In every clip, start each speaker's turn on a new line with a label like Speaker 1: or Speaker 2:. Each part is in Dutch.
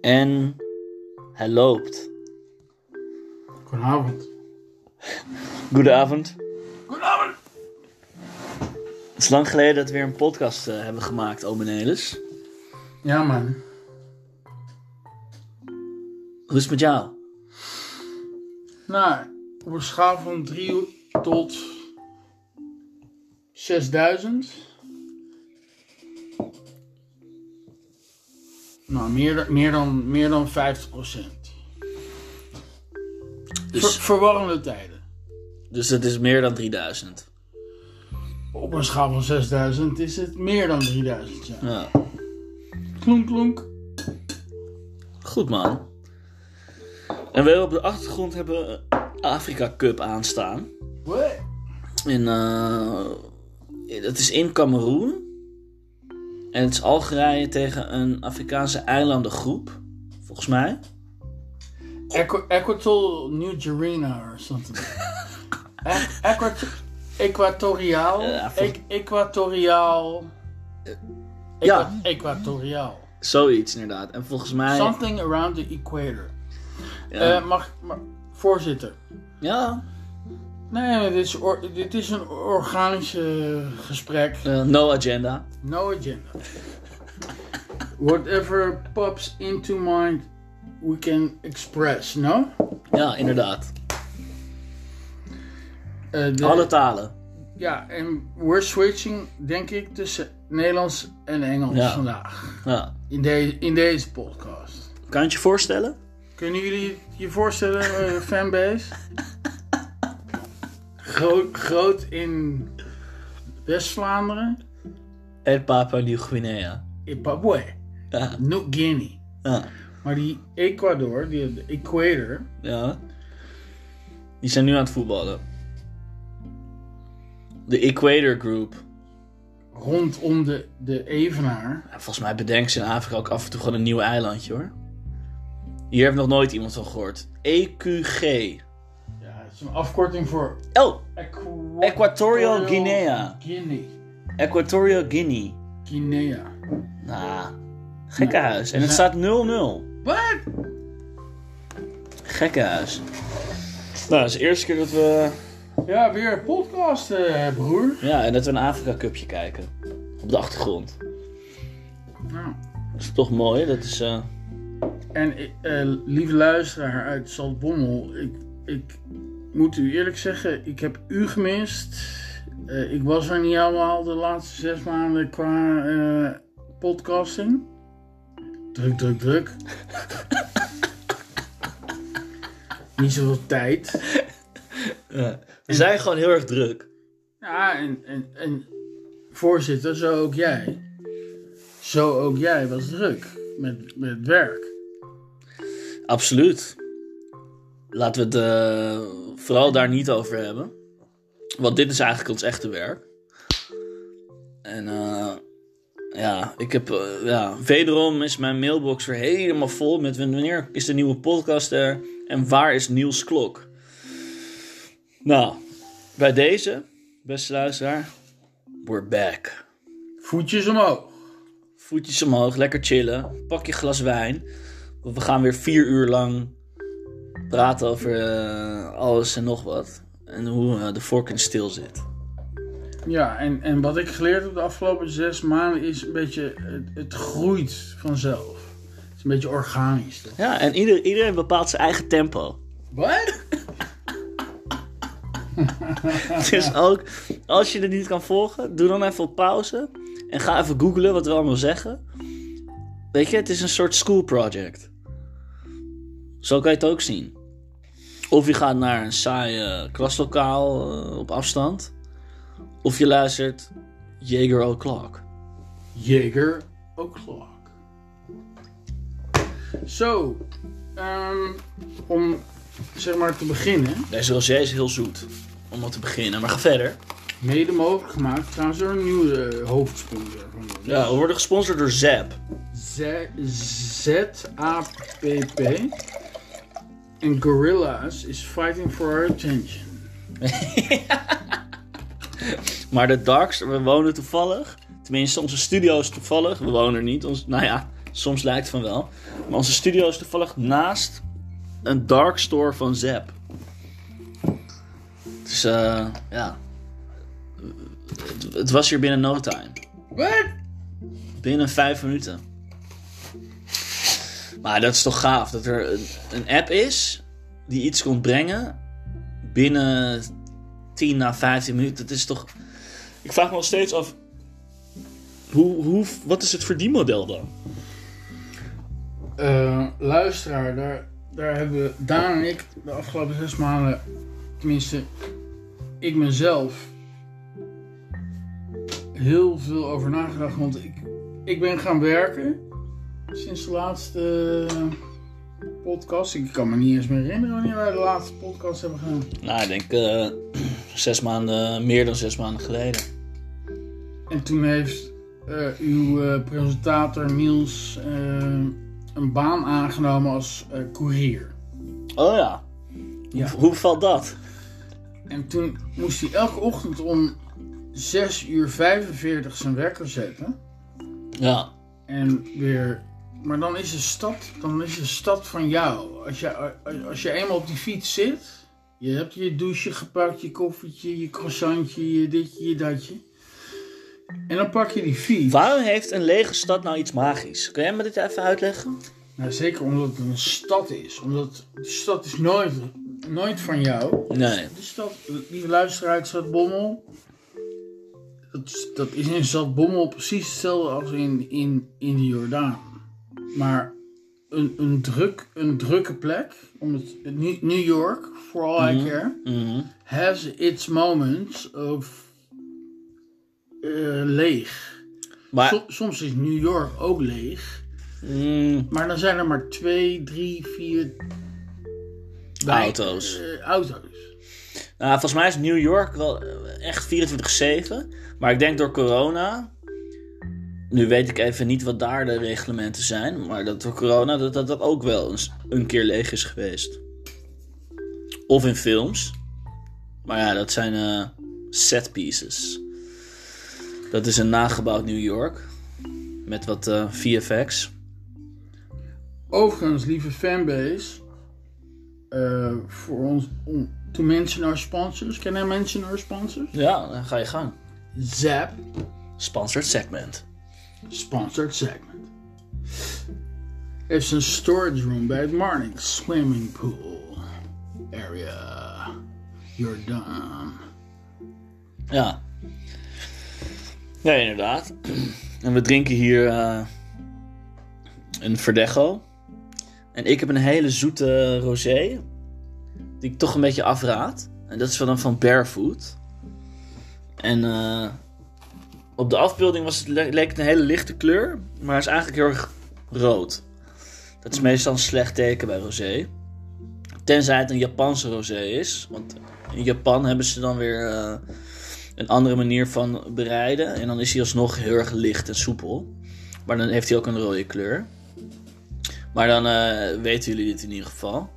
Speaker 1: En hij loopt.
Speaker 2: Goedenavond.
Speaker 1: Goedenavond.
Speaker 2: Goedenavond.
Speaker 1: Het is lang geleden dat we weer een podcast eh, hebben gemaakt, Omenelis.
Speaker 2: Ja, man.
Speaker 1: Hoe is het met jou?
Speaker 2: Nou, op een schaal van 3 tot 6000. Nou, meer, dan- meer, dan, meer dan 50%. Ver,
Speaker 1: Dus,
Speaker 2: verwarrende tijden.
Speaker 1: dus het is meer dan 3000.
Speaker 2: Op een schaal van 6000 is het meer dan 3000, ja.
Speaker 1: Ja.
Speaker 2: Klonk, klonk.
Speaker 1: Goed man. En we hebben op de achtergrond hebben we Afrika Cup aanstaan.
Speaker 2: What?
Speaker 1: In, eh, dat is in Cameroen. En het is Algerije tegen een Afrikaanse eilandengroep. Volgens mij.
Speaker 2: Equ- Equatorial New Girena or something. Equ- equat- equatoriaal.
Speaker 1: Ja, voor-
Speaker 2: Equ- equatoriaal. Equa-
Speaker 1: Ja.
Speaker 2: Equatoriaal.
Speaker 1: Zoiets inderdaad. En volgens mij...
Speaker 2: Something around the equator.
Speaker 1: Ja.
Speaker 2: Eh, mag, maar, voorzitter.
Speaker 1: ja.
Speaker 2: Nee, dit is, or- dit is een organisch eh, gesprek.
Speaker 1: eh, no agenda.
Speaker 2: No agenda. Whatever pops into mind, we can express, no?
Speaker 1: Ja, inderdaad.
Speaker 2: Eh, de-
Speaker 1: Alle talen.
Speaker 2: Ja, en we're switching, denk ik, tussen Nederlands en Engels
Speaker 1: Ja.
Speaker 2: vandaag.
Speaker 1: Ja.
Speaker 2: In, de, in deze podcast.
Speaker 1: Kan je het je voorstellen?
Speaker 2: Kunnen jullie je voorstellen, eh, fanbase? Groot, groot in West-Vlaanderen,
Speaker 1: En Papua Nieuw-Guinea.
Speaker 2: in Papua,
Speaker 1: Ja.
Speaker 2: New Guinea.
Speaker 1: Ja.
Speaker 2: Maar die Ecuador, die, de equator,
Speaker 1: ja. Die zijn nu aan het voetballen. De Equator Group.
Speaker 2: rondom de, de evenaar.
Speaker 1: Ja, Volgens mij bedenken ze in Afrika ook af en toe gewoon een nieuw eilandje hoor. Hier heeft nog nooit iemand van gehoord. E EQG.
Speaker 2: Ja, het is een afkorting voor
Speaker 1: Oh,
Speaker 2: Equa-
Speaker 1: Equatorial Guinea.
Speaker 2: Guinea.
Speaker 1: Equatorial Guinea.
Speaker 2: Guinea.
Speaker 1: Nou, gekkenhuis. En het
Speaker 2: Ja.
Speaker 1: staat 0-0.
Speaker 2: Wat?
Speaker 1: Gekkenhuis. Nou, dat is de eerste keer dat we...
Speaker 2: Ja, weer een podcast, eh, broer.
Speaker 1: Ja, en dat we een Afrika Cupje kijken. Op de achtergrond.
Speaker 2: Nou.
Speaker 1: Dat is toch mooi, dat is... eh,
Speaker 2: En eh, eh, lieve luisteraar uit Zaltbommel, ik, ik moet u eerlijk zeggen, ik heb u gemist. Eh, ik was er niet allemaal de laatste zes maanden qua eh, podcasting. Druk, druk, druk. niet zoveel tijd.
Speaker 1: we zijn gewoon heel erg druk.
Speaker 2: Ja, en, en, en voorzitter, zo ook jij. Zo ook jij was druk met, met werk.
Speaker 1: Absoluut. Laten we het eh, vooral daar niet over hebben. Want dit is eigenlijk ons echte werk. En eh, ja, ik heb, eh, ja, wederom is mijn mailbox weer helemaal vol met wanneer is de nieuwe podcast er en waar is Niels Klok? Nou, bij deze, beste luisteraar, we're back.
Speaker 2: Voetjes omhoog.
Speaker 1: Voetjes omhoog, lekker chillen. Pak je glas wijn. Want we gaan weer vier uur lang praten over eh, alles en nog wat. En hoe eh, de vork in stil zit.
Speaker 2: Ja, en, en wat ik geleerd heb de afgelopen zes maanden is een beetje, het, het groeit vanzelf. Het is een beetje organisch, toch?
Speaker 1: Ja, en ieder, iedereen bepaalt zijn eigen tempo.
Speaker 2: Wat?
Speaker 1: Het is Dus ook, als je het niet kan volgen, doe dan even op pauze. En ga even googlen wat we allemaal zeggen. Weet je, het is een soort school project. Zo kan je het ook zien. Of je gaat naar een saaie klaslokaal eh, op afstand. Of je luistert Jager O'Clock.
Speaker 2: Jager O'Clock. Zo, ehm, om zeg maar te beginnen,
Speaker 1: Deze rosé is heel zoet. Om wat te beginnen, maar ga verder.
Speaker 2: mede mogelijk gemaakt trouwens door een nieuwe eh, hoofdsponsor van ons.
Speaker 1: Ja, we worden gesponsord door Zap.
Speaker 2: Z- ZAPP. En Gorilla's is fighting for our attention.
Speaker 1: Maar de Darks, we wonen toevallig. Tenminste, onze studio is toevallig. We wonen er niet. Ons, nou ja, Soms lijkt van wel. Maar onze studio is toevallig naast een dark store van Zep. Dus eh, ja. Het, het was hier binnen no time.
Speaker 2: Wat?
Speaker 1: Binnen vijf minuten. Maar dat is toch gaaf dat er een, een app is die iets komt brengen binnen 10 na 15 minuten. Dat is toch. Ik vraag me nog steeds af. Hoe, hoe, wat is het verdienmodel dan?
Speaker 2: Eh, luisteraar, daar, daar hebben Daan en ik de afgelopen zes maanden, tenminste ik mezelf, heel veel over nagedacht. Want ik, ik ben gaan werken sinds de laatste podcast. Ik kan me niet eens meer herinneren wanneer wij de laatste podcast hebben gedaan.
Speaker 1: Nou, ik denk eh, zes maanden, meer dan zes maanden geleden.
Speaker 2: En toen heeft eh, uw eh, presentator Niels eh, een baan aangenomen als eh, courier.
Speaker 1: Oh ja.
Speaker 2: Ja.
Speaker 1: Hoe, hoe valt dat?
Speaker 2: En toen moest hij elke ochtend om 6 uur 45 zijn wekker zetten.
Speaker 1: Ja.
Speaker 2: En weer. Maar dan is de stad, dan is de stad van jou. Als je, als je eenmaal op die fiets zit. Je hebt je douche gepakt, je koffietje, je croissantje, je ditje, je datje. En dan pak je die fiets.
Speaker 1: Waarom heeft een lege stad nou iets magisch? Kun jij me dit even uitleggen?
Speaker 2: Nou, zeker omdat het een stad is. Omdat de stad is nooit, nooit van jou.
Speaker 1: Nee.
Speaker 2: De stad, lieve luisteraar uit Stadbommel. Dat, dat is in Stadbommel precies hetzelfde als in, in, in de Jordaan. Maar een, een, druk, een drukke plek, om het, het New- New York, for all I care,
Speaker 1: Mhm.
Speaker 2: has its moments of eh, leeg.
Speaker 1: Maar.
Speaker 2: Som- soms is New York ook leeg,
Speaker 1: Mm,
Speaker 2: maar dan zijn er maar twee, drie, vier
Speaker 1: auto's.
Speaker 2: eh, auto's.
Speaker 1: Nou, volgens mij is New York wel eh, echt 24-7. Maar ik denk door corona. Nu weet ik even niet wat daar de reglementen zijn. Maar dat door corona dat dat, dat ook wel eens een keer leeg is geweest. Of in films. Maar ja, dat zijn eh set pieces. Dat is een nagebouwd New York. Met wat eh, VFX.
Speaker 2: Overigens, lieve fanbase, eh, voor ons, om, to mention our sponsors. Can I mention our sponsors?
Speaker 1: Ja, dan ga je gang.
Speaker 2: Zap,
Speaker 1: Sponsored segment.
Speaker 2: sponsored segment. Heeft een storage room bij het Marnix Swimming Pool area. You're done.
Speaker 1: Ja. Nee, inderdaad. En we drinken hier eh, een Verdecho. En ik heb een hele zoete rosé. Die ik toch een beetje afraad. En dat is wel dan van Barefoot. En eh, op de afbeelding was het, le- leek het een hele lichte kleur. Maar het is eigenlijk heel erg rood. Dat is meestal een slecht teken bij rosé. Tenzij het een Japanse rosé is. Want in Japan hebben ze dan weer... eh, een andere manier van bereiden. En dan is hij alsnog heel erg licht en soepel. Maar dan heeft hij ook een rode kleur. Maar dan eh, weten jullie dit in ieder geval.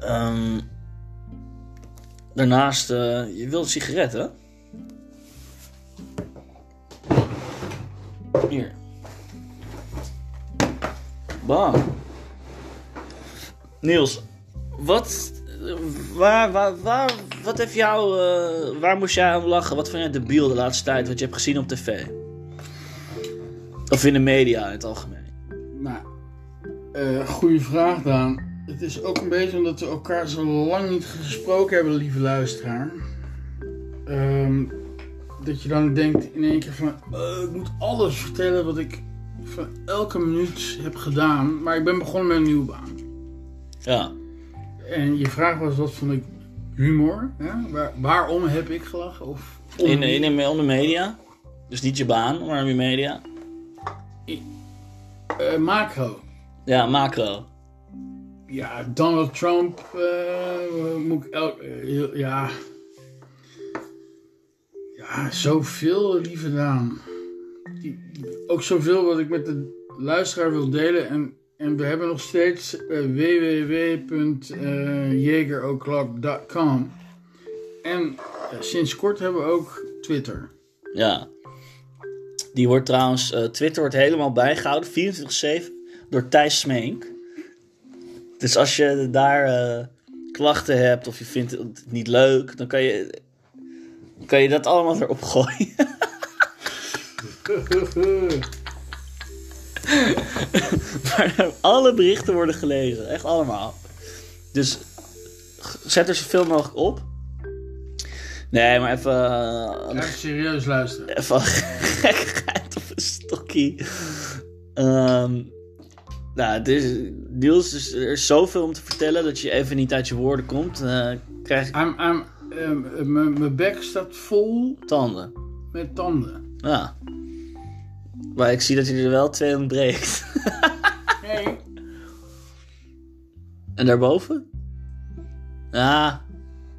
Speaker 1: Ehm, daarnaast, eh, je wilt een sigaret, hè? Hier. Bam. Niels, wat, waar, waar, waar, wat heeft jou, eh, waar moest jij aan lachen? Wat vond jij debiel de laatste tijd, wat je hebt gezien op tv? Of in de media in het algemeen?
Speaker 2: Nou, eh goede vraag Daan. Het is ook een beetje omdat we elkaar zo lang niet gesproken hebben, lieve luisteraar. Ehm, dat je dan denkt in één keer van, eh, ik moet alles vertellen wat ik van elke minuut heb gedaan. Maar ik ben begonnen met een nieuwe baan.
Speaker 1: Ja,
Speaker 2: En je vraag was, wat vond ik humor? Hè? Waar- waarom heb ik gelachen? Of om-
Speaker 1: in, in, in, de media. Dus niet je baan, maar in de media.
Speaker 2: eh, macro.
Speaker 1: Ja, macro.
Speaker 2: Ja, Donald Trump eh, moet ik elk. eh, heel- ja. Ja, zoveel, lieve naam. Die, ook zoveel wat ik met de luisteraar wil delen. En, en we hebben nog steeds eh www.jagero'clock.com. En eh, sinds kort hebben we ook Twitter.
Speaker 1: Ja. Die wordt trouwens, eh, Twitter wordt helemaal bijgehouden, 24-7, door Thijs Smeenk. Dus als je daar eh, klachten hebt of je vindt het niet leuk, dan kan je, kan je dat allemaal erop gooien. Maar alle berichten worden gelezen, echt allemaal. Dus g- zet er zoveel mogelijk op. Nee, maar even, eh,
Speaker 2: Ga Even serieus luisteren.
Speaker 1: Even gekkigheid op een stokkie. Ehm, nou, het is, Niels, dus er is zoveel om te vertellen dat je even niet uit je woorden komt. Eh, krijg ik
Speaker 2: I'm, I'm, eh, m- mijn bek staat vol
Speaker 1: tanden.
Speaker 2: met tanden.
Speaker 1: Ja. Maar ik zie dat je er wel twee ontbreekt.
Speaker 2: Nee.
Speaker 1: En daarboven? Ja.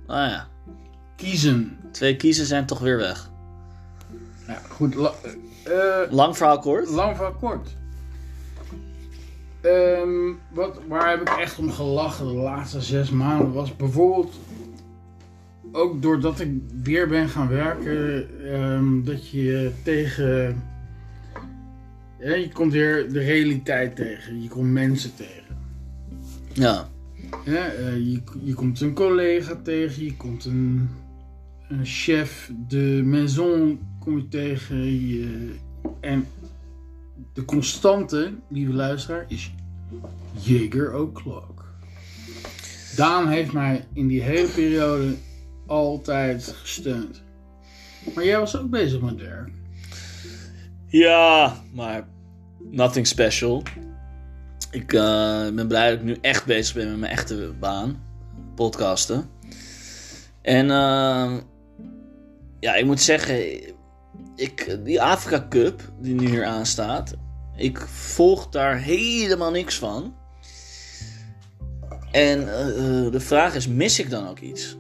Speaker 1: Nou ja.
Speaker 2: Kiezen.
Speaker 1: Twee kiezen zijn toch weer weg.
Speaker 2: Ja, Nou, goed. la- eh, eh,
Speaker 1: Lang verhaal kort.
Speaker 2: lang van kort. Ehm, wat, waar heb ik echt om gelachen de laatste zes maanden was bijvoorbeeld ook doordat ik weer ben gaan werken, ehm, dat je tegen. Ja, je komt weer de realiteit tegen, je komt mensen tegen.
Speaker 1: Ja.
Speaker 2: Ja, eh, je, je komt een collega tegen, je komt een, een chef de maison kom je tegen. Je, en de constante, lieve luisteraar, is Jager O'Clock. Daan heeft mij in die hele periode altijd gesteund. Maar jij was ook bezig met Dirk.
Speaker 1: Ja, maar nothing special. Ik eh, ben blij dat ik nu echt bezig ben met mijn echte baan. Podcasten. En ehm, ja, ik moet zeggen, ik, die Afrika Cup die nu hier aanstaat, ik volg daar helemaal niks van. En eh, eh, de vraag is, mis ik dan ook iets?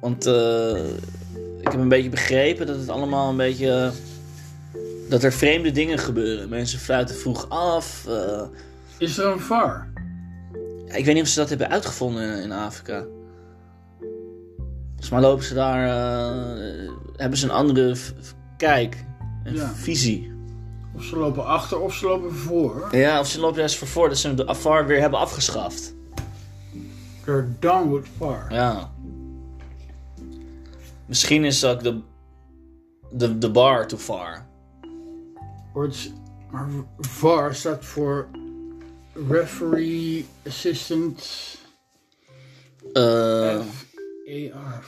Speaker 1: Want eh, ik heb een beetje begrepen dat het allemaal een beetje... eh, dat er vreemde dingen gebeuren. Mensen fluiten vroeg af. eh,
Speaker 2: Is er een VAR?
Speaker 1: ja, ik weet niet of ze dat hebben uitgevonden in Afrika. Volgens mij lopen ze daar. eh, hebben ze een andere v- v- kijk en
Speaker 2: Ja.
Speaker 1: visie.
Speaker 2: Of ze lopen achter of ze lopen voor.
Speaker 1: Ja, of ze lopen juist voor voor dat ze de afar weer hebben afgeschaft.
Speaker 2: Door downward VAR.
Speaker 1: Ja. Misschien is ook de, de, de bar too far.
Speaker 2: Wordt, maar VAR staat voor Referee Assistant
Speaker 1: Eh,
Speaker 2: FAR.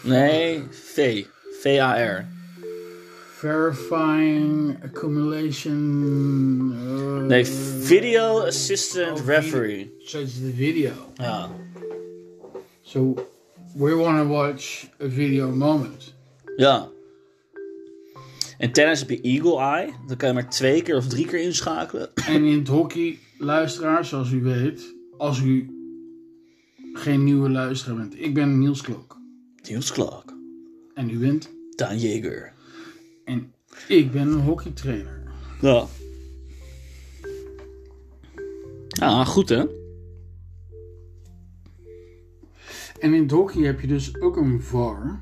Speaker 1: nee, V. V-A-R.
Speaker 2: Verifying Accumulation. eh,
Speaker 1: Nee, Video Assistant
Speaker 2: Oh,
Speaker 1: Referee.
Speaker 2: So it's the video.
Speaker 1: Ja.
Speaker 2: So we want to watch a video moment.
Speaker 1: Ja. En tennis heb je Eagle Eye. Dan kan je maar twee keer of drie keer inschakelen.
Speaker 2: En in het hockey, luisteraars, zoals u weet, als u geen nieuwe luisteraar bent, ik ben Niels Klok.
Speaker 1: Niels Clark.
Speaker 2: En u bent.
Speaker 1: Daan Jager.
Speaker 2: En ik ben een hockeytrainer.
Speaker 1: Ja. Ja, goed hè?
Speaker 2: En in het hockey heb je dus ook een VAR,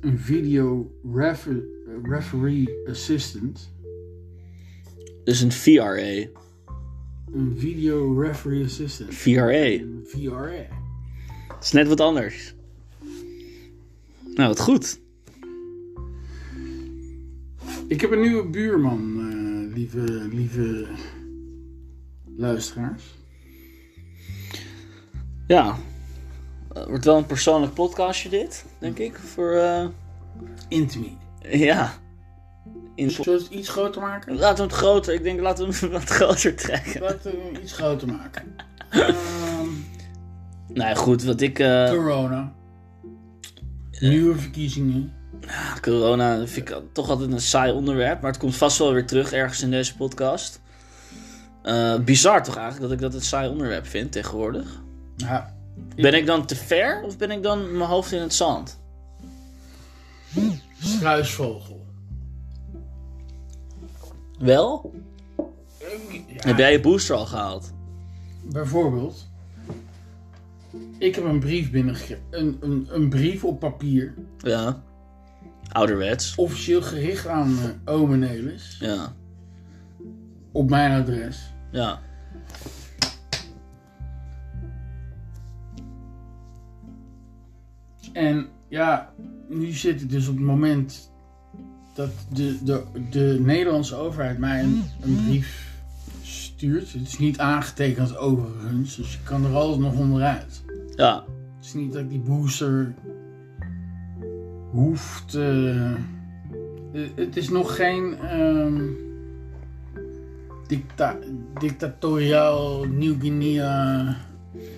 Speaker 2: een video refer- referee assistant,
Speaker 1: Dus een VRA.
Speaker 2: een video referee assistant,
Speaker 1: VRA.
Speaker 2: een VRA.
Speaker 1: Dat is net wat anders. Nou, wat goed.
Speaker 2: Ik heb een nieuwe buurman, eh, lieve, lieve luisteraars.
Speaker 1: Ja. Het wordt wel een persoonlijk podcastje dit, denk ik. Voor, eh,
Speaker 2: Intimie.
Speaker 1: ja. In...
Speaker 2: Zullen we het iets groter maken?
Speaker 1: Laten we het groter, ik denk laten we hem wat groter trekken.
Speaker 2: Laten we hem iets groter maken. Ehm,
Speaker 1: Nou ja, goed, wat ik... eh,
Speaker 2: corona. Nieuwe verkiezingen.
Speaker 1: Corona vind ik toch altijd een saai onderwerp, maar het komt vast wel weer terug ergens in deze podcast. Eh, bizar toch eigenlijk dat ik dat een saai onderwerp vind tegenwoordig.
Speaker 2: Ja,
Speaker 1: Ben ik dan te ver of ben ik dan mijn hoofd in het zand?
Speaker 2: struisvogel.
Speaker 1: Wel?
Speaker 2: Ja,
Speaker 1: Heb jij je booster al gehaald?
Speaker 2: Bijvoorbeeld, ik heb een brief binnengekregen. Een, een, een brief op papier,
Speaker 1: Ja. Ouderwets.
Speaker 2: officieel gericht aan eh ome Nelis.
Speaker 1: Ja.
Speaker 2: op mijn adres.
Speaker 1: Ja.
Speaker 2: En ja, nu zit ik dus op het moment dat de, de, de Nederlandse overheid mij een, een brief stuurt. Het is niet aangetekend overigens, dus je kan er altijd nog onderuit.
Speaker 1: Ja.
Speaker 2: Het is niet dat ik die booster hoeft. eh, eh, het is nog geen ehm, dicta dictatoriaal Nieuw-Guinea.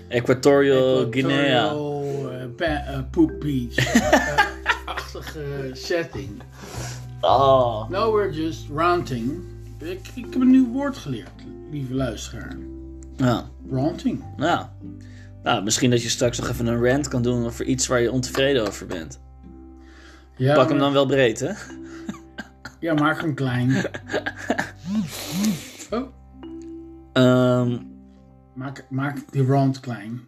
Speaker 1: Equatorial Oh, Guinea.
Speaker 2: Equatorial, eh, pa- eh, Poep Beach. eh, Achtige setting.
Speaker 1: Oh.
Speaker 2: No, we're just ranting. Ik, ik heb een nieuw woord geleerd, lieve luisteraar.
Speaker 1: Ja.
Speaker 2: Ranting.
Speaker 1: Nou. nou, misschien dat je straks nog even een rant kan doen over iets waar je ontevreden over bent.
Speaker 2: Ja,
Speaker 1: Pak hem
Speaker 2: maar-
Speaker 1: dan wel breed, hè?
Speaker 2: Ja, maak hem klein. oh,
Speaker 1: Ehm,
Speaker 2: maak, maak die rand klein.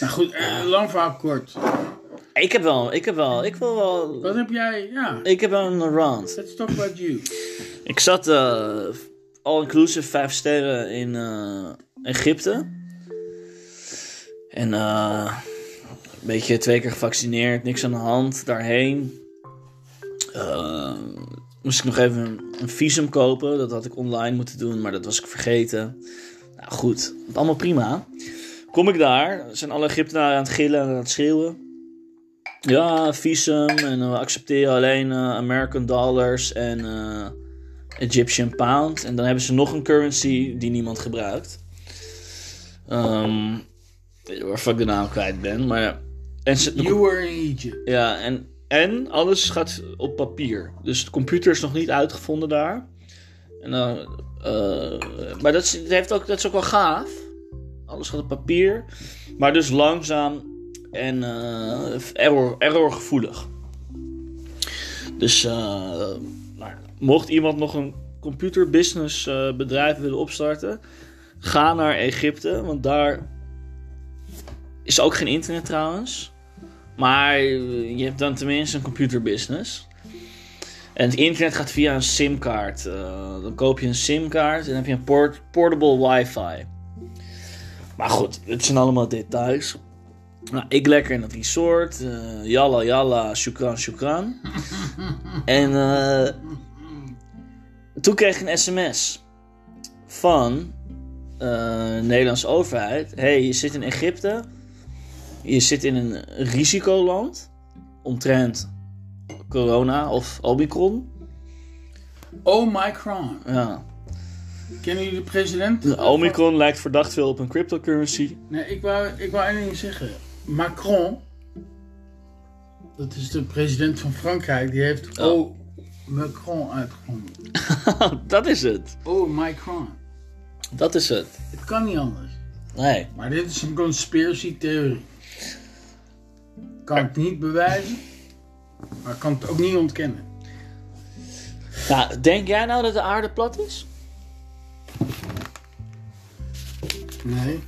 Speaker 2: Nou goed, eh, lang verhaal kort.
Speaker 1: ik heb wel, ik heb wel, ik wil wel,
Speaker 2: Wat heb jij? Ja,
Speaker 1: ik heb wel een rant.
Speaker 2: let's talk about you.
Speaker 1: Ik zat eh, all-inclusive vijf sterren in eh, Egypte. En eh, een beetje twee keer gevaccineerd, niks aan de hand, daarheen. Eh, moest ik nog even een, een visum kopen, dat had ik online moeten doen, maar dat was ik vergeten. Nou goed, allemaal prima. Kom ik daar, zijn alle Egyptenaren aan het gillen en aan het schreeuwen. Ja, visum en eh, we accepteren alleen eh, American dollars en... eh, Egyptian pound. En dan hebben ze nog een currency die niemand gebruikt. Ehm, waarvan ik de naam kwijt ben. Maar, en ze,
Speaker 2: You were in Egypt.
Speaker 1: ja, en, en alles gaat op papier. Dus de computer is nog niet uitgevonden daar. En, dan, eh, maar dat is, dat heeft ook, dat is ook wel gaaf. Alles gaat op papier. Maar dus langzaam en eh, error, errorgevoelig. Dus eh, nou, mocht iemand nog een computerbusiness eh, bedrijf willen opstarten... ga naar Egypte, want daar is ook geen internet trouwens... Maar eh, je hebt dan tenminste een computerbusiness. En het internet gaat via een simkaart. Eh, dan koop je een simkaart en dan heb je een port portable wifi. Maar goed, het zijn allemaal details. Nou, ik lekker in het resort. eh yalla yalla, shukran shukran. en eh, toen kreeg ik een sms van eh, de Nederlandse overheid. hey, je zit in Egypte. Je zit in een risicoland omtrent corona of Omicron.
Speaker 2: Omicron.
Speaker 1: Ja.
Speaker 2: Kennen jullie de president?
Speaker 1: Omicron lijkt verdacht veel op een cryptocurrency.
Speaker 2: Nee, ik wou, ik wou één ding zeggen. Macron, dat is de president van Frankrijk, die heeft
Speaker 1: Oh.
Speaker 2: O. Macron uitgevonden.
Speaker 1: dat is het.
Speaker 2: Oh, Micron.
Speaker 1: Dat is het.
Speaker 2: Het kan niet anders.
Speaker 1: Nee.
Speaker 2: Maar dit is een conspiracy theorie. Kan ik niet bewijzen, maar kan het ook niet ontkennen.
Speaker 1: Nou, denk jij nou dat de aarde plat is?
Speaker 2: Nee.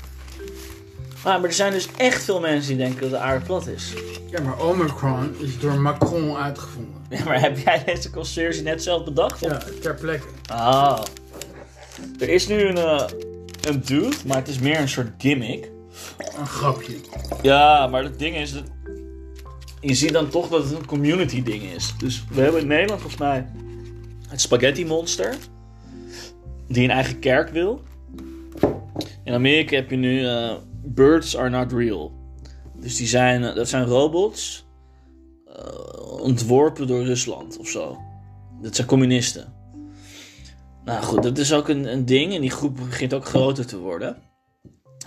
Speaker 1: Ah, maar er zijn dus echt veel mensen die denken dat de aarde plat is.
Speaker 2: Ja, maar Omicron is door Macron uitgevonden.
Speaker 1: Ja, maar heb jij deze conspiracy net zelf bedacht?
Speaker 2: Ja, ter plekke.
Speaker 1: Ah. Er is nu een, eh, een dude, maar het is meer een soort gimmick.
Speaker 2: Een grapje.
Speaker 1: Ja, maar het ding is dat. Je ziet dan toch dat het een community ding is. Dus we hebben in Nederland volgens mij het spaghetti monster. Die een eigen kerk wil. In Amerika heb je nu eh, Birds Are Not Real. Dus die zijn, eh, dat zijn robots eh, ontworpen door Rusland of zo. Dat zijn communisten. Nou goed, dat is ook een, een ding. En die groep begint ook groter te worden.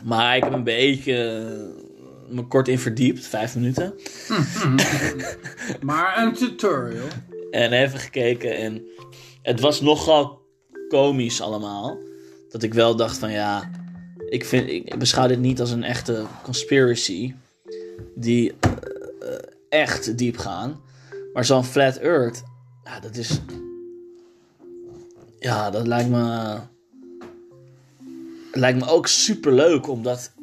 Speaker 1: Maar ik heb een beetje eh, me kort in verdiept, vijf minuten.
Speaker 2: Maar een tutorial.
Speaker 1: En even gekeken en het was nogal komisch allemaal. Dat ik wel dacht van ja, ik, vind, ik beschouw dit niet als een echte conspiracy. Die eh, eh, echt diep gaan. Maar zo'n flat earth, ja, dat is... Ja, dat lijkt me... Lijkt me ook super leuk om dat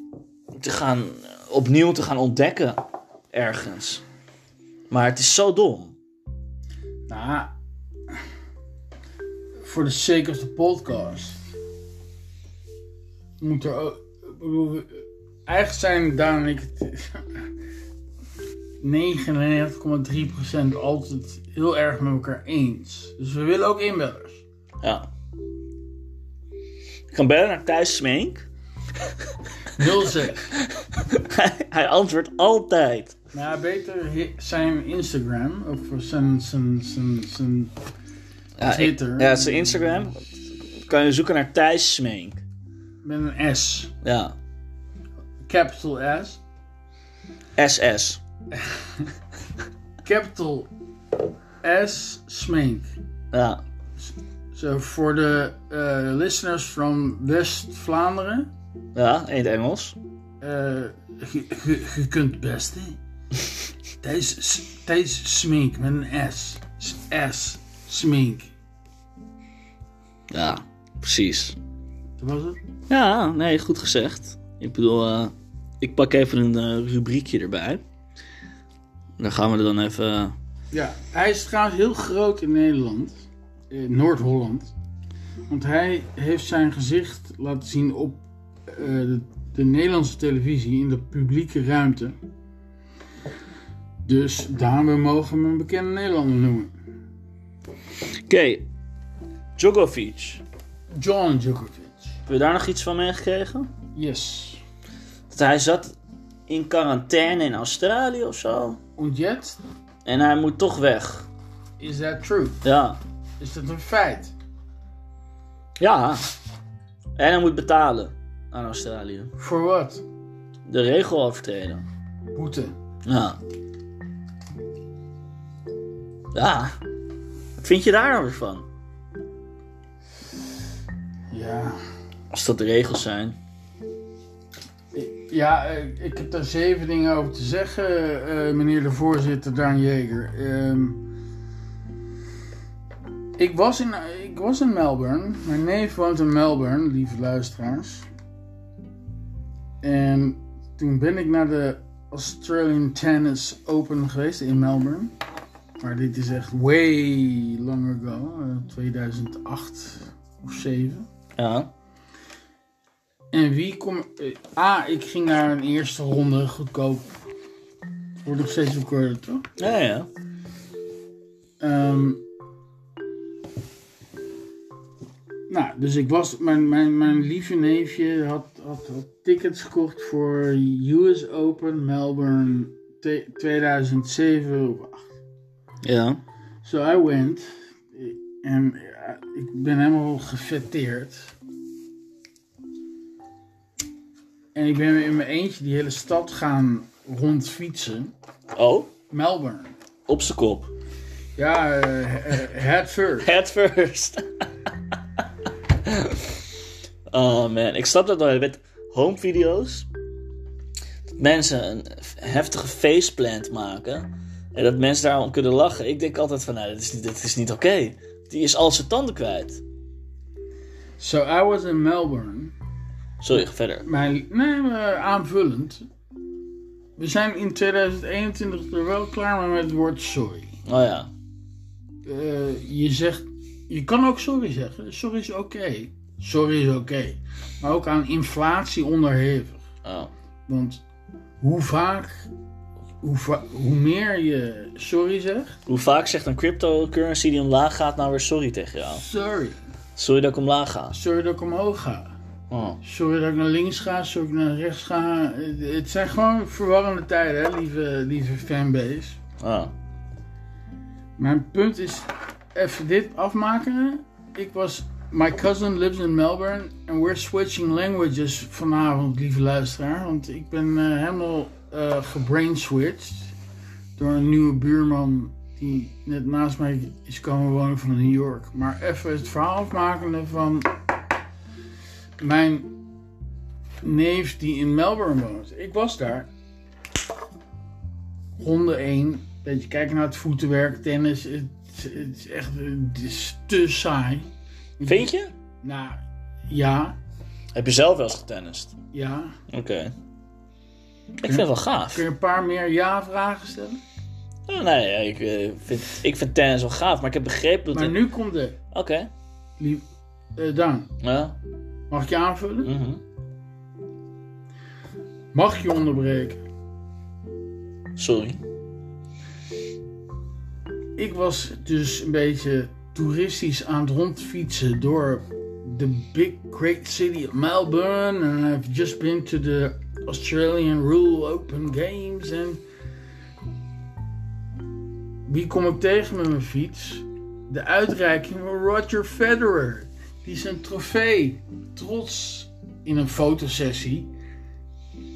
Speaker 1: te gaan, opnieuw te gaan ontdekken ergens. Maar het is zo dom.
Speaker 2: Nou, voor de sake of the podcast. Moet er ook. ik bedoel, eh, eigenlijk zijn Daan en ik het 99,3% altijd heel erg met elkaar eens. Dus we willen ook inbellers.
Speaker 1: Ja. Ik kan bellen naar Thijs Smeenk.
Speaker 2: Heel zeg.
Speaker 1: hij, hij antwoordt altijd.
Speaker 2: Nou, ja, beter hi- zijn Instagram. Of zijn, zijn, zijn, zijn
Speaker 1: Ja,
Speaker 2: Twitter.
Speaker 1: ik- ja, zijn Instagram. Kan je zoeken naar Thijs Smeenk.
Speaker 2: met een S.
Speaker 1: Ja.
Speaker 2: Capital S.
Speaker 1: SS.
Speaker 2: Capital S Smink.
Speaker 1: Ja.
Speaker 2: Zo voor de eh, listeners van West-Vlaanderen.
Speaker 1: Ja, in het Engels.
Speaker 2: eh, Je je- je kunt het beste. Thijs, S- Thijs Smink met een S. S, S Smink.
Speaker 1: Ja, precies.
Speaker 2: Dat was het?
Speaker 1: Ja, nee, goed gezegd. Ik bedoel, eh, ik pak even een eh, rubriekje erbij. Dan gaan we er dan even...
Speaker 2: Ja, hij is trouwens heel groot in Nederland. In Noord-Holland. Want hij heeft zijn gezicht laten zien op eh, de, de Nederlandse televisie in de publieke ruimte. Dus daarom mogen we hem een bekende Nederlander noemen.
Speaker 1: Oké. Djokovic.
Speaker 2: John Djokovic.
Speaker 1: Heb je daar nog iets van meegekregen?
Speaker 2: Yes.
Speaker 1: Dat hij zat in quarantaine in Australië of zo.
Speaker 2: En yet,
Speaker 1: En hij moet toch weg.
Speaker 2: is that true?
Speaker 1: Ja.
Speaker 2: Is dat een feit?
Speaker 1: Ja. En hij moet betalen aan Australië.
Speaker 2: Voor wat?
Speaker 1: De regel overtreden.
Speaker 2: Boete.
Speaker 1: Ja. Ja. Wat vind je daar nou weer van?
Speaker 2: Ja.
Speaker 1: Als dat de regels zijn.
Speaker 2: Ja, eh, ik heb daar zeven dingen over te zeggen, eh, meneer de voorzitter Daan Jeger. Ehm, ik, was in, ik was in Melbourne. Mijn neef woont in Melbourne, lieve luisteraars. En toen ben ik naar de Australian Tennis Open geweest in Melbourne. Maar dit is echt way long ago, eh, 2008 of 7.
Speaker 1: Ja.
Speaker 2: En wie kom... eh, ah, ik ging naar een eerste ronde goedkoop. Wordt nog steeds recorded, toch?
Speaker 1: Ja, ja.
Speaker 2: Ehm, nou, dus ik was... Mijn, mijn, mijn lieve neefje had, had, had tickets gekocht voor US Open Melbourne te- 2007 of 8.
Speaker 1: Ja.
Speaker 2: So I went. En ja, ik ben helemaal gefetteerd. En ik ben in mijn eentje die hele stad gaan rondfietsen.
Speaker 1: Oh,
Speaker 2: Melbourne.
Speaker 1: op zijn kop.
Speaker 2: Ja, eh, eh, head first.
Speaker 1: Head first. oh man, ik snap dat wel met home video's. Dat mensen een heftige faceplant maken. En dat mensen daarom kunnen lachen. Ik denk altijd van, nou, dit is niet, dit is niet oké. Die is al zijn tanden kwijt.
Speaker 2: So I was in Melbourne.
Speaker 1: Sorry, ga verder.
Speaker 2: Mijn, nee, maar aanvullend. We zijn in 2021 er wel klaar mee met het woord sorry.
Speaker 1: Oh ja.
Speaker 2: Eh, je zegt, je kan ook sorry zeggen. Sorry is oké. Sorry is oké. Maar ook aan inflatie onderhevig.
Speaker 1: Oh.
Speaker 2: Want hoe vaak, hoe, va- hoe meer je sorry zegt,
Speaker 1: Hoe vaak zegt een cryptocurrency die omlaag gaat nou weer sorry tegen jou?
Speaker 2: sorry.
Speaker 1: Sorry dat ik omlaag ga.
Speaker 2: Sorry dat ik omhoog ga.
Speaker 1: Oh.
Speaker 2: Sorry dat ik naar links ga, sorry dat ik naar rechts ga. Het- Het zijn gewoon verwarrende tijden, hè, lieve, lieve fanbase.
Speaker 1: Oh.
Speaker 2: Mijn punt is, even dit afmaken. Ik was, my cousin lives in Melbourne and we're switching languages vanavond, lieve luisteraar. Want ik ben eh, helemaal eh gebrainswitched door een nieuwe buurman die net naast mij is komen wonen van New York. Maar even het verhaal afmakende van mijn neef die in Melbourne woont. Ik was daar ronde 1. Beetje kijken naar het voetenwerk, tennis. Het, het is echt het is te saai.
Speaker 1: Vind je?
Speaker 2: Nou, ja,
Speaker 1: Heb je zelf wel eens getennist?
Speaker 2: ja.
Speaker 1: Oké. Ik vind het wel gaaf.
Speaker 2: Kun je een paar meer ja-vragen stellen?
Speaker 1: Oh, nee, ja, ik, eh, vind, ik vind tennis wel gaaf, maar ik heb begrepen dat...
Speaker 2: Maar
Speaker 1: het-
Speaker 2: nu komt de...
Speaker 1: Oké.
Speaker 2: Lief, eh, Daan,
Speaker 1: Ja.
Speaker 2: mag ik je aanvullen?
Speaker 1: mhm.
Speaker 2: Mag ik je onderbreken?
Speaker 1: Sorry.
Speaker 2: Ik was dus een beetje toeristisch aan het rondfietsen door de big great city of Melbourne. And I've just been to the Australian Rule Open Games. En wie kom ik tegen met mijn fiets? De uitreiking van Roger Federer. Die zijn trofee trots in een fotosessie.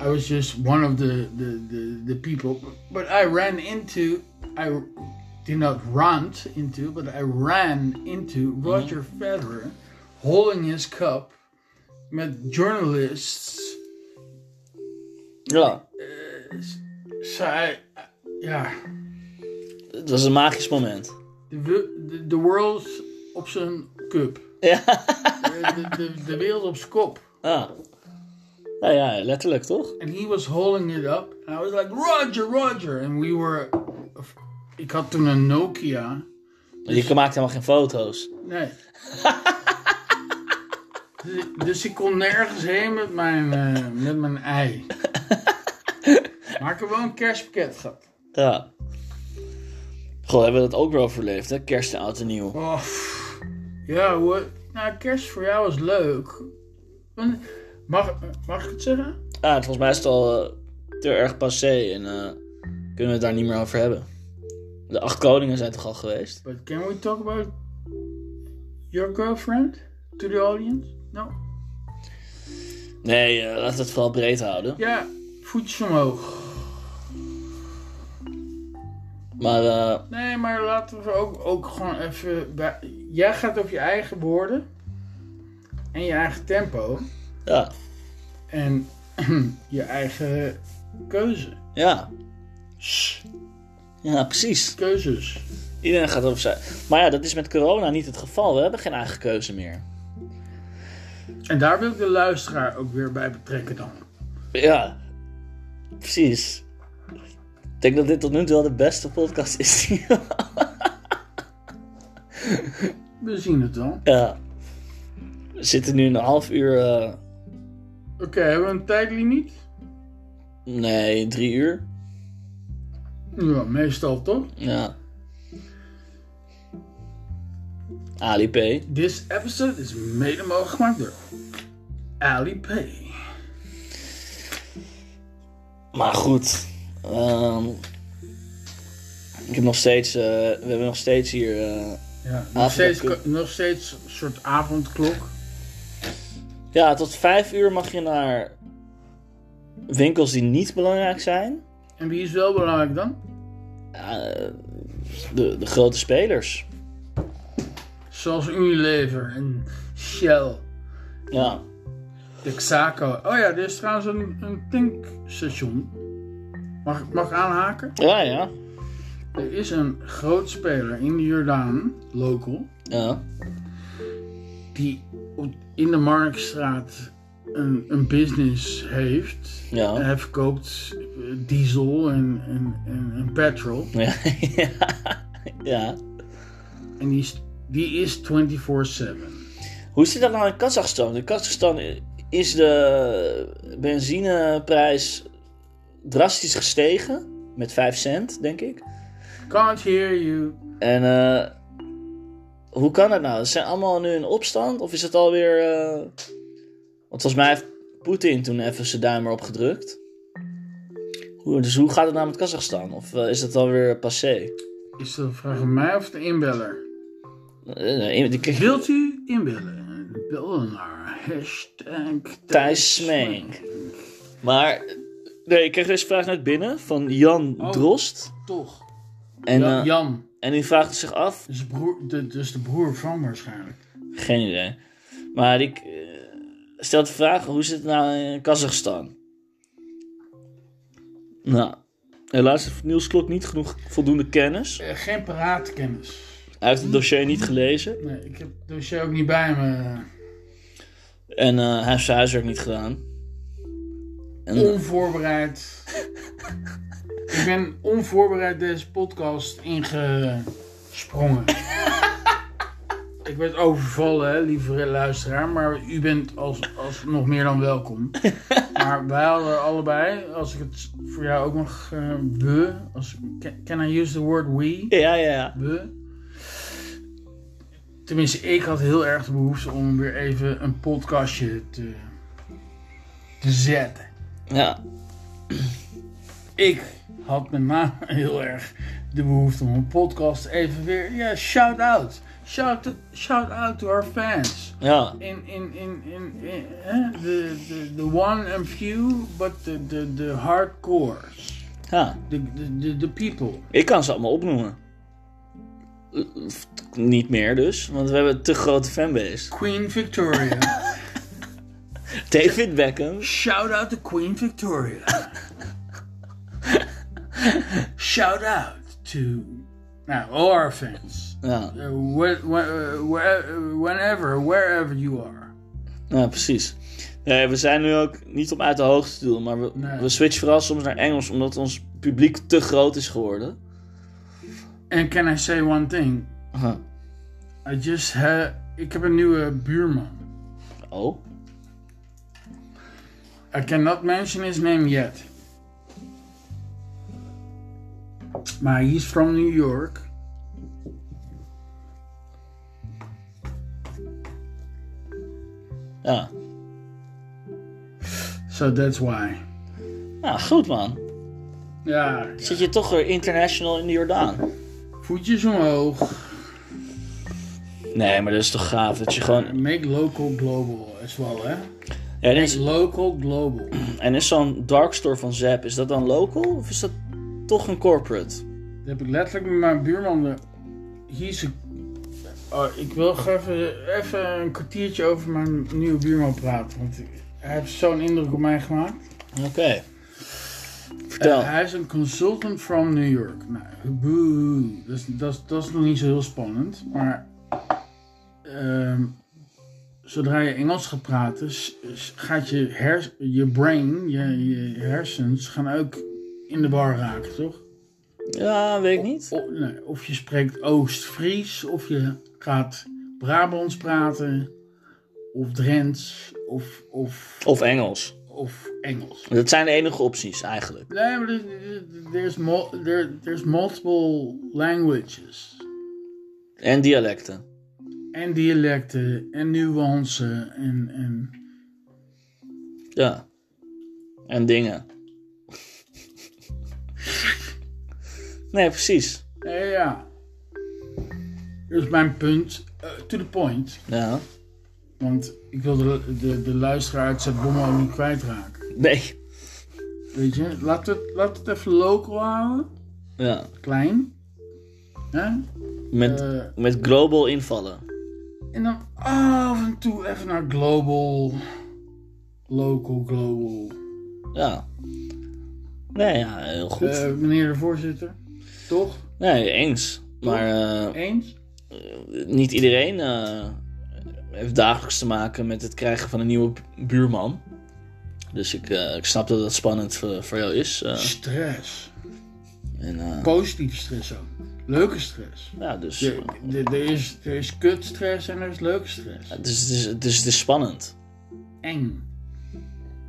Speaker 2: I was just one of the, the, the, the people. But I ran into, I did not run into, but I ran into Roger Federer holding his cup met journalists.
Speaker 1: Ja,
Speaker 2: Zij, ja,
Speaker 1: het was een magisch moment.
Speaker 2: de, wi- de, de world op zijn cup.
Speaker 1: Ja.
Speaker 2: De, de, de wereld op zijn kop.
Speaker 1: Ah. Nou ja, letterlijk toch?
Speaker 2: And he was holding it up. And I was like, Roger, Roger. And we were. Ik had toen een Nokia.
Speaker 1: Je maakt helemaal geen foto's.
Speaker 2: Nee. dus, ik- dus ik kon nergens heen met mijn, eh, met mijn ei. Maar ik heb wel een kerstpakket gehad.
Speaker 1: Ja. Goh, hebben we dat ook weer overleefd, hè? Kerst en oud en nieuw.
Speaker 2: Oh, pff. ja, hoor. Nou, kerst voor jou is leuk. Want- Mag, mag ik het zeggen?
Speaker 1: Ah, volgens mij is het al eh, te erg passé en eh, kunnen we het daar niet meer over hebben. De acht koningen zijn toch al geweest?
Speaker 2: But can we talk about your girlfriend to the audience? Nou, No.
Speaker 1: Nee, eh, laten we het vooral breed houden.
Speaker 2: Ja, voetjes omhoog.
Speaker 1: Maar eh,
Speaker 2: Nee, maar laten we ook, ook gewoon even. bij- Jij gaat op je eigen woorden en je eigen tempo
Speaker 1: ja,
Speaker 2: en je eigen keuze.
Speaker 1: ja. Ja, precies.
Speaker 2: Keuzes.
Speaker 1: Iedereen gaat over zijn. Maar ja, dat is met corona niet het geval. We hebben geen eigen keuze meer.
Speaker 2: En daar wil ik de luisteraar ook weer bij betrekken dan.
Speaker 1: Ja, precies. Ik denk dat dit tot nu toe wel de beste podcast is. die-
Speaker 2: We zien het dan.
Speaker 1: ja. We zitten nu een half uur. eh,
Speaker 2: Oké, hebben we een tijdlimiet?
Speaker 1: nee, drie uur.
Speaker 2: Ja, meestal toch?
Speaker 1: Ja. Ali P.
Speaker 2: This episode is mede mogelijk gemaakt door Alipay.
Speaker 1: Maar goed. ehm, ik heb nog steeds. eh, we hebben nog steeds hier. eh,
Speaker 2: Ja, nog
Speaker 1: Avond-
Speaker 2: steeds, nog steeds een soort avondklok.
Speaker 1: ja, tot vijf uur mag je naar winkels die niet belangrijk zijn.
Speaker 2: En wie is wel belangrijk dan?
Speaker 1: Eh, de, de grote spelers.
Speaker 2: Zoals Unilever en Shell,
Speaker 1: Ja.
Speaker 2: Texaco. Oh ja, er is trouwens een, een tankstation. Mag, ik- mag ik aanhaken?
Speaker 1: Ja, ja.
Speaker 2: Er is een groot speler in de Jordaan, local,
Speaker 1: Ja.
Speaker 2: die op- in de Marktstraat een, een business heeft.
Speaker 1: Ja.
Speaker 2: En hij verkoopt eh, diesel en, en, en, en petrol.
Speaker 1: Ja. ja.
Speaker 2: En die is, die is 24-7.
Speaker 1: Hoe zit dat nou in Kazachstan? In Kazachstan is de benzineprijs drastisch gestegen. Met 5 cent, denk ik.
Speaker 2: Can't hear you.
Speaker 1: En eh, hoe kan dat nou? Zijn allemaal nu in opstand? Of is het alweer... eh, Want volgens mij heeft Poetin toen even zijn duim erop gedrukt. Hoe, dus hoe gaat het nou met Kazachstan? Of eh, is dat alweer passé?
Speaker 2: Is dat een vraag aan mij of de inbeller?
Speaker 1: Eh, eh, die kreeg-
Speaker 2: Wilt u inbellen? Bel naar hashtag
Speaker 1: Thijs Smeink. Maar... Nee, ik kreeg deze vraag net binnen van Jan
Speaker 2: Oh.
Speaker 1: Drost.
Speaker 2: Toch?
Speaker 1: En,
Speaker 2: Ja,
Speaker 1: eh,
Speaker 2: Jan,
Speaker 1: en die vraagt zich af,
Speaker 2: dus, broer, de, dus de broer van waarschijnlijk.
Speaker 1: geen idee. Maar ik eh, stel de vraag, hoe zit het nou in Kazachstan? Nou, helaas heeft Niels Klok niet genoeg voldoende kennis.
Speaker 2: Eh, geen paraatkennis.
Speaker 1: Hij heeft het dossier niet gelezen.
Speaker 2: Nee, ik heb het dossier ook niet bij me.
Speaker 1: En eh, hij heeft zijn huiswerk niet gedaan. En, eh,
Speaker 2: Onvoorbereid. ik ben onvoorbereid deze podcast ingesprongen. ik, Ik werd overvallen, hè, lieve luisteraar, maar u bent als, als nog meer dan welkom. maar wij hadden allebei, als ik het voor jou ook nog eh, we, als, can, can I use the word we?
Speaker 1: Ja, ja, ja.
Speaker 2: We. Tenminste, ik had heel erg de behoefte om weer even een podcastje te, te zetten.
Speaker 1: Ja,
Speaker 2: Ik had met name heel erg de behoefte om een podcast even weer. Ja, shout out. Shout, shout out to our fans.
Speaker 1: ja.
Speaker 2: In, in, in, in, in hè? The, the, the one and few, but the, the, the hardcores.
Speaker 1: ja.
Speaker 2: The, the, the, the people.
Speaker 1: Ik kan ze allemaal opnoemen. Eh, Niet meer dus, want we hebben een te grote fanbase.
Speaker 2: Queen Victoria.
Speaker 1: David Beckham.
Speaker 2: shout out to Queen Victoria. shout out to. Nou, all our fans.
Speaker 1: Ja,
Speaker 2: Uh, wh- wh- uh, where- uh, whenever, wherever you are.
Speaker 1: ja precies. Nee, we zijn nu ook niet om uit de hoogte te doen, maar we,
Speaker 2: Nee.
Speaker 1: we switchen vooral soms naar Engels omdat ons publiek te groot is geworden.
Speaker 2: En can I say one thing?
Speaker 1: Huh.
Speaker 2: I just ha- ik heb een nieuwe buurman.
Speaker 1: Oh,
Speaker 2: I cannot mention his name yet. Maar he is from New York.
Speaker 1: ja.
Speaker 2: So that's why.
Speaker 1: Nou, goed man.
Speaker 2: Ja,
Speaker 1: Zit je toch weer international in de Jordaan?
Speaker 2: voetjes omhoog.
Speaker 1: Nee, maar dat is toch gaaf dat je gewoon...
Speaker 2: Make local global as well, hè?
Speaker 1: Ja, en is,
Speaker 2: Local global.
Speaker 1: en is zo'n darkstore van Zap, is dat dan local of is dat toch een corporate?
Speaker 2: Dat heb ik letterlijk met mijn buurman. de- Hier is een- Oh, ik wil gewoon even, even een kwartiertje over mijn nieuwe buurman praten. Want hij heeft zo'n indruk op mij gemaakt.
Speaker 1: Oké. Vertel.
Speaker 2: Eh, hij is een consultant from New York. Nou, boe. Dat is, dat, is, dat is nog niet zo heel spannend. Maar ehm, zodra je Engels gaat praten, s- s- gaat je, hers, je brain, je, je hersens, gaan ook in de war raken, toch?
Speaker 1: ja, weet ik niet.
Speaker 2: O- nee, of je spreekt Oost-Fries, of je gaat Brabants praten, of Drents, of, of,
Speaker 1: Of Engels.
Speaker 2: of Engels.
Speaker 1: Dat zijn de enige opties eigenlijk.
Speaker 2: Nee, maar er- er- there's, mo there, there's multiple languages.
Speaker 1: En dialecten.
Speaker 2: En dialecten, en nuances, en, en...
Speaker 1: Ja. En dingen. nee, precies.
Speaker 2: Nee, ja. Dus mijn punt, eh, to the point.
Speaker 1: Ja.
Speaker 2: Want ik wil de, de, de luisteraar uit Zuid-Bommel ook niet kwijtraken.
Speaker 1: Nee.
Speaker 2: Weet je, laat het, laat het even local houden.
Speaker 1: Ja.
Speaker 2: Klein. Hè?
Speaker 1: Met,
Speaker 2: Eh,
Speaker 1: met global invallen.
Speaker 2: en dan af en toe even naar global. Local, global.
Speaker 1: Ja. Nee, ja, heel goed.
Speaker 2: Eh, meneer de voorzitter, toch?
Speaker 1: nee, eens. Maar eh,
Speaker 2: Eens?
Speaker 1: niet iedereen eh, heeft dagelijks te maken met het krijgen van een nieuwe bu- buurman. Dus ik, eh, ik snap dat dat spannend voor, voor jou is. eh,
Speaker 2: Stress.
Speaker 1: en, eh,
Speaker 2: Positieve stress ook. Leuke stress.
Speaker 1: ja, dus...
Speaker 2: Er- Er er is, er is kutstress en er is leuke stress.
Speaker 1: Dus het is, het is, het is spannend.
Speaker 2: Eng.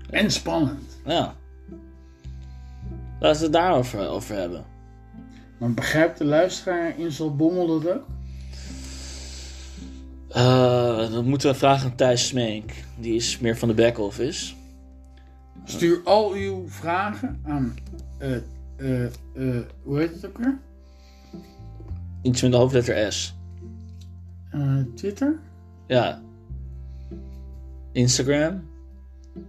Speaker 2: En spannend.
Speaker 1: Ja. Laten we het daarover over hebben.
Speaker 2: Maar begrijpt de luisteraar in zo'n bommel dat ook?
Speaker 1: Eh, dan moeten we vragen aan Thijs Smeek. Die is meer van de back-office.
Speaker 2: Stuur al uw vragen aan... eh, eh, eh, hoe heet het ook weer?
Speaker 1: Iets met de hoofdletter S.
Speaker 2: Eh, Twitter?
Speaker 1: Ja. Instagram.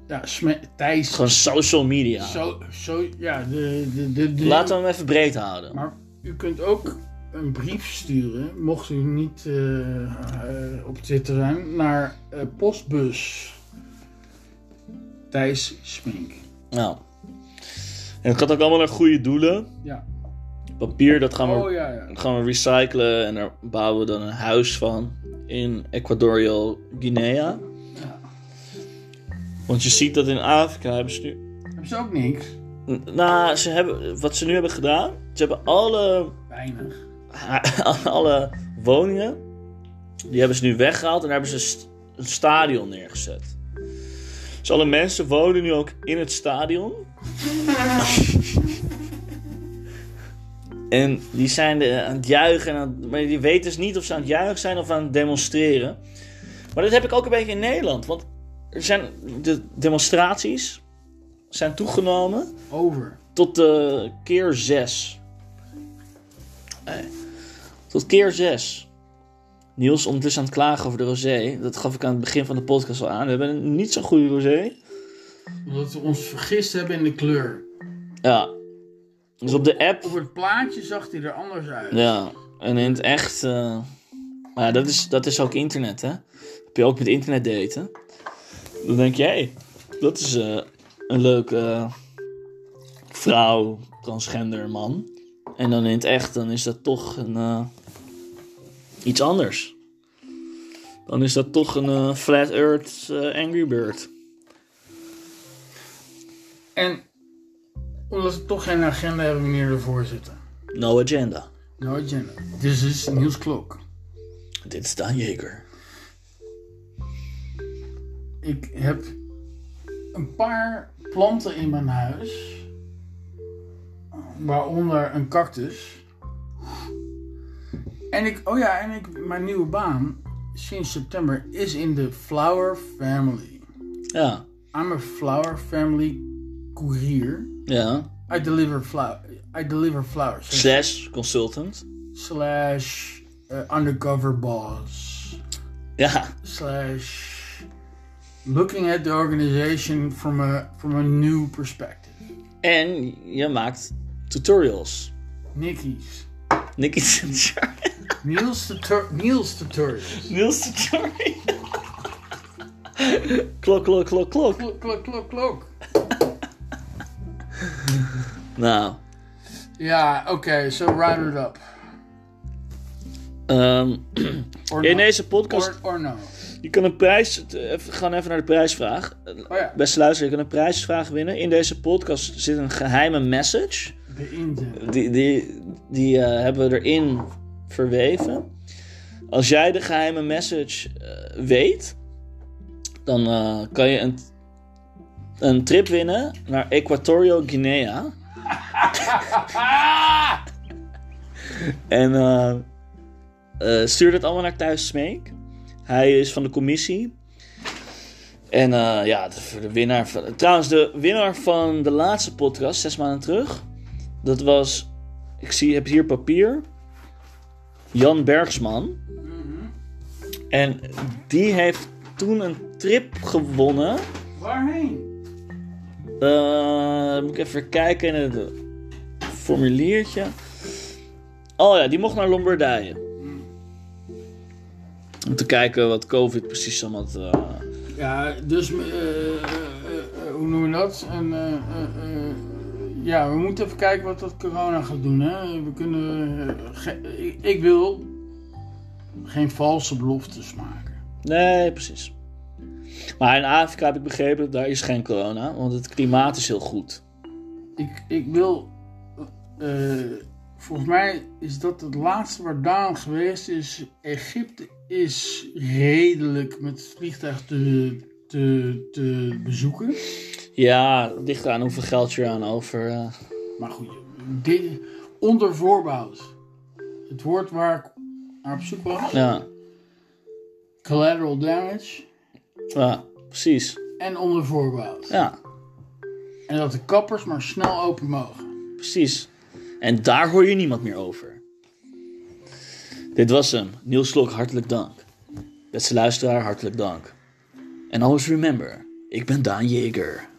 Speaker 2: Ja, Sme Thijs.
Speaker 1: Gewoon social media.
Speaker 2: Zo, zo, ja, de... de, de, de
Speaker 1: Laten we hem even breed houden.
Speaker 2: Maar u kunt ook een brief sturen, mocht u niet eh, eh, op Twitter zijn, naar eh, postbus Thijs Smink.
Speaker 1: Nou. En het gaat ook allemaal naar goede doelen.
Speaker 2: Ja.
Speaker 1: Papier, dat gaan we,
Speaker 2: Oh ja, ja.
Speaker 1: dat gaan we recyclen. En daar bouwen we dan een huis van. In Equatorial Guinea.
Speaker 2: ja.
Speaker 1: Want je ziet dat in Afrika hebben ze nu
Speaker 2: Hebben ze ook niks?
Speaker 1: N- Nou, ze hebben, wat ze nu hebben gedaan, ze hebben alle,
Speaker 2: Weinig.
Speaker 1: alle woningen Die hebben ze nu weggehaald en daar hebben ze een st- een stadion neergezet. Dus alle mensen wonen nu ook in het stadion. en die zijn eh, aan het juichen. En aan, maar die weten dus niet of ze aan het juichen zijn of aan het demonstreren. Maar dat heb ik ook een beetje in Nederland. Want er zijn de demonstraties zijn toegenomen
Speaker 2: Over.
Speaker 1: tot eh, keer 6. Tot keer 6. Niels, ondertussen aan het klagen over de rosé. Dat gaf ik aan het begin van de podcast al aan. We hebben een niet zo'n goede rosé.
Speaker 2: Omdat we ons vergist hebben in de kleur.
Speaker 1: Ja. Dus op de app.
Speaker 2: Op het plaatje zag hij er anders uit.
Speaker 1: Ja. En in het echt. eh, Maar ja, dat is, dat is ook internet, hè? Heb je ook met internet daten? Dan denk je, hé, dat is eh, een leuke eh, vrouw, transgender man. En dan in het echt, dan is dat toch een, eh, iets anders. Dan is dat toch een eh, Flat Earth eh, Angry Bird.
Speaker 2: En omdat we toch geen agenda hebben, meneer de voorzitter.
Speaker 1: No agenda.
Speaker 2: No agenda. Dit is Niels Klok.
Speaker 1: Dit is Daan Jeger.
Speaker 2: Ik heb een paar planten in mijn huis. Waaronder een cactus. En ik, oh ja, en ik, mijn nieuwe baan sinds september is in de Flower Family.
Speaker 1: Ja,
Speaker 2: I'm a Flower Family courier.
Speaker 1: ja.
Speaker 2: I deliver, flower, I deliver flowers.
Speaker 1: Slash consultant.
Speaker 2: slash eh, undercover boss
Speaker 1: Ja,
Speaker 2: slash looking at the organization from a from a new perspective.
Speaker 1: en je maakt tutorials.
Speaker 2: Nicky's
Speaker 1: Nicky tutorial.
Speaker 2: Niels tutor Niels tutorials.
Speaker 1: Niels tutorial. klok, klok, klok, klok.
Speaker 2: Klok klok klok klok.
Speaker 1: Nou,
Speaker 2: Ja, oké, so write it up.
Speaker 1: ehm,
Speaker 2: Or
Speaker 1: in
Speaker 2: no.
Speaker 1: deze podcast,
Speaker 2: Or, or no.
Speaker 1: je kan een prijs, t- even- we gaan even naar de prijsvraag.
Speaker 2: Oh ja,
Speaker 1: Beste luisteraar, je kan een prijsvraag winnen. In deze podcast zit een geheime message.
Speaker 2: de inzet.
Speaker 1: Die, die, die eh, hebben we erin verweven. Als jij de geheime message eh, weet, dan eh, kan je een, een trip winnen naar Equatorial Guinea. en eh, eh, stuur dat allemaal naar Thuis Smeek. Hij is van de commissie. En eh, ja, de, voor de winnaar van. Trouwens, de winnaar van de laatste podcast, zes maanden terug. Dat was. Ik zie, heb hier papier. Jan Bergsman. En die heeft toen een trip gewonnen.
Speaker 2: Waarheen?
Speaker 1: Eh, moet ik even kijken in het formuliertje. Oh ja, die mocht naar Lombardije. Om te kijken wat COVID precies allemaal. eh,
Speaker 2: Ja, dus eh, eh, eh, eh, hoe noemen we dat? En, eh, eh, eh, ja, we moeten even kijken wat dat corona gaat doen. Hè? We kunnen, eh, ge- ik- ik wil geen valse beloftes maken.
Speaker 1: Nee, precies. Maar in Afrika heb ik begrepen, daar is geen corona, want het klimaat is heel goed.
Speaker 2: Ik, ik wil, eh, volgens mij is dat het laatste waar Daan geweest is. Egypte is redelijk met het vliegtuig te, te, te bezoeken.
Speaker 1: Ja, het ligt aan hoeveel geld je eraan over. eh.
Speaker 2: Maar goed, dit, onder voorbehoud. Het woord waar ik naar op zoek was.
Speaker 1: ja.
Speaker 2: Collateral damage.
Speaker 1: ja, precies.
Speaker 2: En onder voorbehoud.
Speaker 1: Ja,
Speaker 2: En dat de kappers maar snel open mogen.
Speaker 1: precies. En daar hoor je niemand meer over. Dit was hem. Niels Slok, hartelijk dank. Beste luisteraar, hartelijk dank. En always remember, ik ben Daan Jeger.